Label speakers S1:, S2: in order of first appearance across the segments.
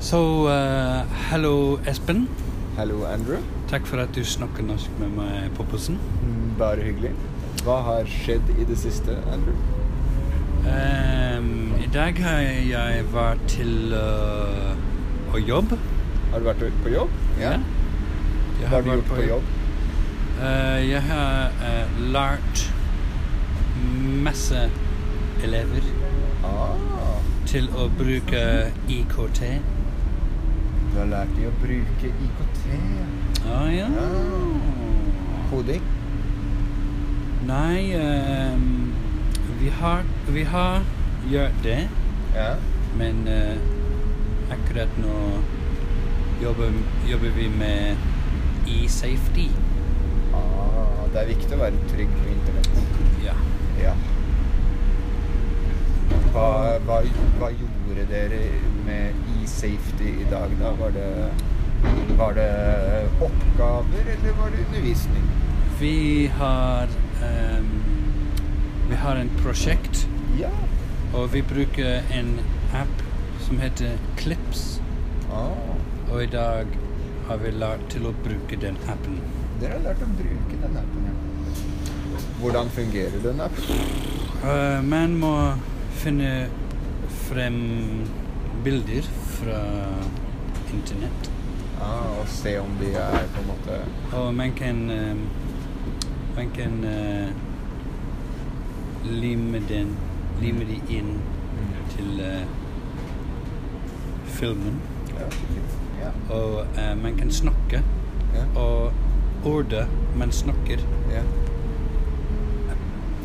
S1: So, uh, hello Espen.
S2: Hallo, Andrew.
S1: Takk for at du snakker norsk med meg på bussen.
S2: Mm, Bare hyggelig. Hva har skjedd i det siste, Andrew?
S1: Ehm, I dag har jeg vært til uh, å jobbe.
S2: Har du vært på jobb?
S1: Jeg
S2: Hva har du gjort på jobb?
S1: Eh, jeg har eh, lært masse elever
S2: Ah,
S1: til å bruke IKT.
S2: du har lært dem å bruke IKT.
S1: Å ja.
S2: Ah. Koding?
S1: Nei, ehm, vi, har, vi har gjort det,
S2: Ja.
S1: men eh, akkurat nå jobber, jobber vi med e-safety.
S2: Ah, det er viktig å være trygg på internett.
S1: Ja.
S2: Ja. Hva, hva, hva gjorde dere med e-safety i dag, da? Var det, var det oppgaver, eller var det undervisning?
S1: Vi har ehm, vi har en prosjekt,
S2: Ja.
S1: og vi bruker en app som heter Clips.
S2: Ah.
S1: Og i dag har vi lært til å bruke den appen.
S2: Dere har lært å bruke den appen, ja. Hvordan fungerer den appen?
S1: Eh, man må finne frem bilder fra internett.
S2: Ah, og se om de er på en måte
S1: Og man kan eh, Man kan eh, lime den Lime de inn til eh, filmen.
S2: Ja. Ja.
S1: Og eh, man kan snakke.
S2: Ja.
S1: Og ordet man snakker,
S2: ja.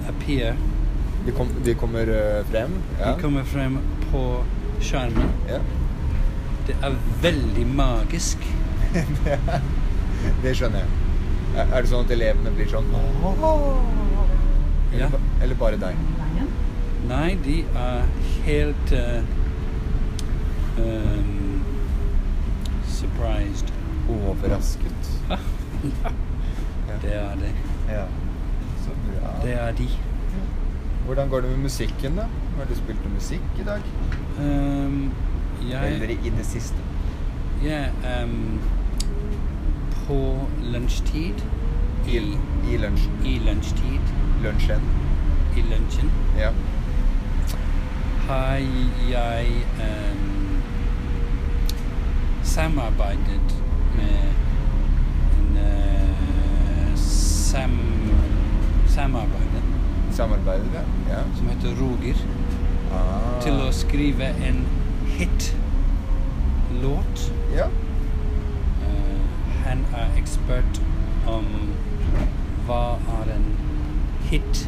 S1: appear,
S2: De, kom, de kommer øh, frem? Ja.
S1: de kommer frem på skjermen.
S2: ja.
S1: Det er veldig magisk.
S2: Det skjønner jeg. Er er det sånn at elevene blir sånn «Åh!» eller,
S1: Ja.
S2: ba- eller bare deg?
S1: Nei, de er helt eh, ehm, surprised.
S2: Overrasket.
S1: Det er det.
S2: Ja. Så bra.
S1: Det er de.
S2: Hvordan går det med musikken, da? Har du spilt noe musikk i dag?
S1: Ehm, jeg
S2: Eller i det siste?
S1: ja, ehm, På lunsjtid
S2: I,
S1: I,
S2: i lunsjen.
S1: i lunsjtid
S2: Lunsjen.
S1: I lunsjen
S2: Ja.
S1: har jeg ehm, samarbeidet med en eh, sam, samarbeider
S2: Samarbeidet, ja. ja.
S1: som heter Roger,
S2: Ah.
S1: til å skrive en hit-låt.
S2: Ja.
S1: Eh, han er ekspert om hva er en hit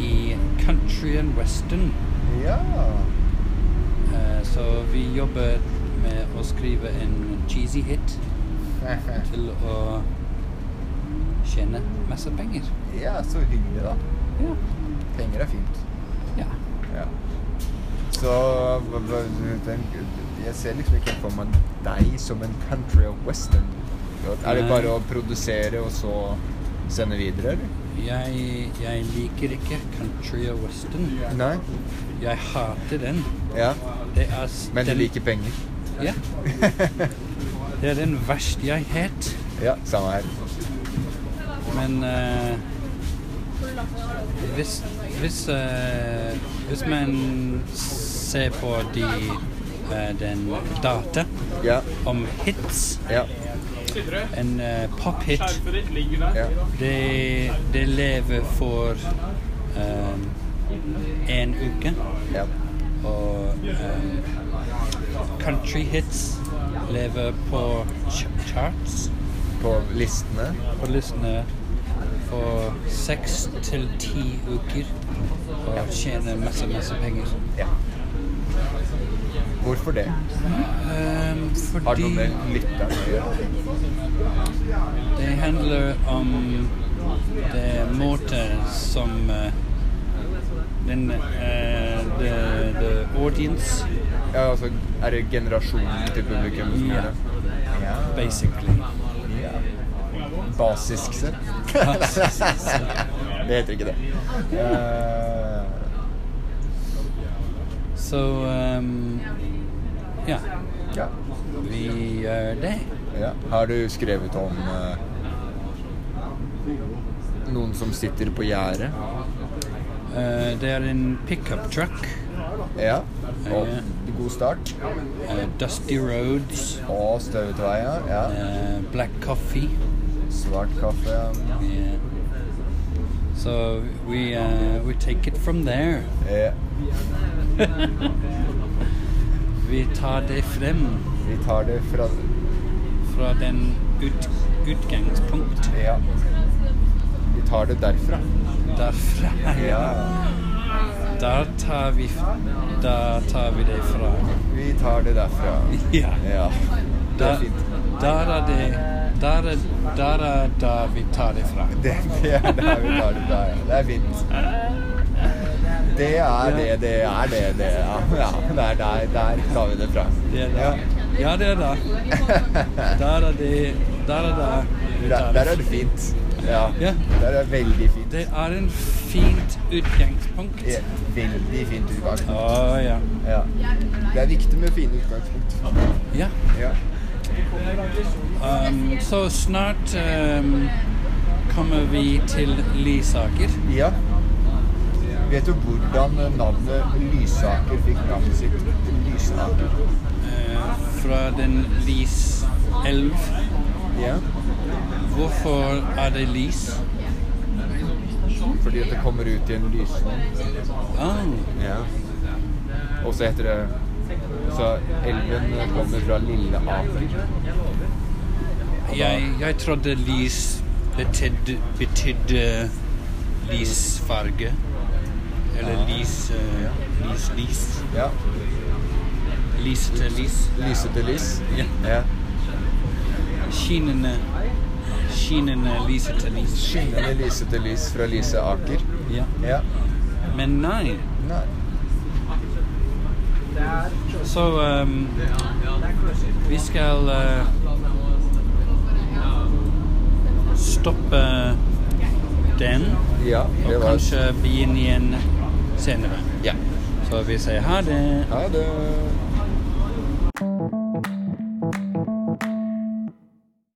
S1: i country and western.
S2: Ja.
S1: Eh, så vi jobber med å skrive en cheesy hit til å tjene masse penger.
S2: ja, så hyggelig, da.
S1: Ja.
S2: Penger er fint.
S1: ja.
S2: Ja. Så hva- hva- du tenker- Jeg ser liksom ikke for meg deg som en country og western. Er det
S1: Nei.
S2: bare å produsere og så sende videre, eller?
S1: Jeg, jeg liker ikke country og western.
S2: Nei.
S1: Jeg hater den.
S2: Ja.
S1: Det er s-
S2: Men du
S1: den,
S2: liker penger?
S1: Ja. Det er den verste jeg het.
S2: Ja, samme her.
S1: Men eh, hvis, hvis, eh, hvis man ser på de, eh, den data
S2: Ja.
S1: om hits,
S2: Ja.
S1: en eh, pop-hit,
S3: Skjerfet ditt ligger der.
S2: ja.
S1: det, det lever for én uke.
S2: ja.
S1: Og eh, country hits lever på ch charts.
S2: På listene?
S1: og listene for seks til ti uker og tjene masse, masse penger.
S2: Ja. Hvorfor det?
S1: Ehm,
S2: Har det
S1: fordi
S2: noe med lytterne å gjøre?
S1: det handler om det måte som eh, den eh, the, the audience
S2: Ja, altså, Er det generasjonen til publikum som gjør
S1: Ja.
S2: det? Ja.
S1: basically.
S2: Ja. Basisk sett.
S1: Basisk sett.
S2: det heter ikke det. Eh,
S1: Så ehm, Ja,
S2: Ja.
S1: vi gjør det.
S2: ja. Har du skrevet om eh, noen som sitter på gjerdet?
S1: Eh, det er en pickup truck.
S2: Ja. Og
S1: Ja.
S2: god start.
S1: eh, dusty roads.
S2: Og støvete veier. Ja.
S1: eh, black coffee.
S2: Svart kaffe. Ja.
S1: Yeah. So we uh, we take it from there.
S2: Ja.
S1: Vi tar det frem
S2: Vi tar det fra
S1: fra den ut, utgangspunkt
S2: Ja. Vi tar det derfra.
S1: derfra.
S2: Ja.
S1: Der tar vi der tar vi det fra.
S2: Vi tar det derfra.
S1: Ja.
S2: Ja. Det
S1: Der,
S2: er fint.
S1: der er det der er, der er der vi tar det fra.
S2: Det, det er der vi tar det fra. ja. Det er fint. Det er det, det er det, det ja. ja det er der, der tar vi det fra.
S1: Det er
S2: Ja.
S1: der. Ja, det er der. Der er det Der er der vi
S2: Der,
S1: tar
S2: der er
S1: det
S2: det
S1: fra.
S2: fint. Ja.
S1: Ja.
S2: Der er veldig fint.
S1: Det er en fint utgangspunkt.
S2: Ja, Veldig fint
S1: Å
S2: utgangspunkt.
S1: ja.
S2: Ja. Det er viktig med fine utgangspunkt.
S1: Ja.
S2: Ja.
S1: Um, så snart um, kommer vi til Lysaker.
S2: ja. Vet du hvordan navnet Lysaker fikk navnet sitt? Lysaker.
S1: eh, fra den lys elv.
S2: Ja.
S1: Hvorfor er det lys?
S2: Fordi at det kommer ut i en lysning.
S1: Ah,
S2: Ja. Og så heter det Så elven kommer fra Lille Aker.
S1: jeg, jeg trodde lys betydde, betydde lysfarge. Eller lys, eh, lys, lys.
S2: Ja.
S1: Lysete lys.
S2: Lysete lys.
S1: Ja.
S2: Ja.
S1: Skinnende, skinnende lysete lys.
S2: Skinnende lysete lys fra Lyse Aker.
S1: Ja.
S2: Ja.
S1: Men nei.
S2: Nei.
S1: Så ehm, vi skal eh, stoppe den
S2: Ja,
S1: og
S2: det var
S1: kanskje begynne igjen senere.
S2: Ja.
S1: Så vi sier ha det.
S2: Ha det.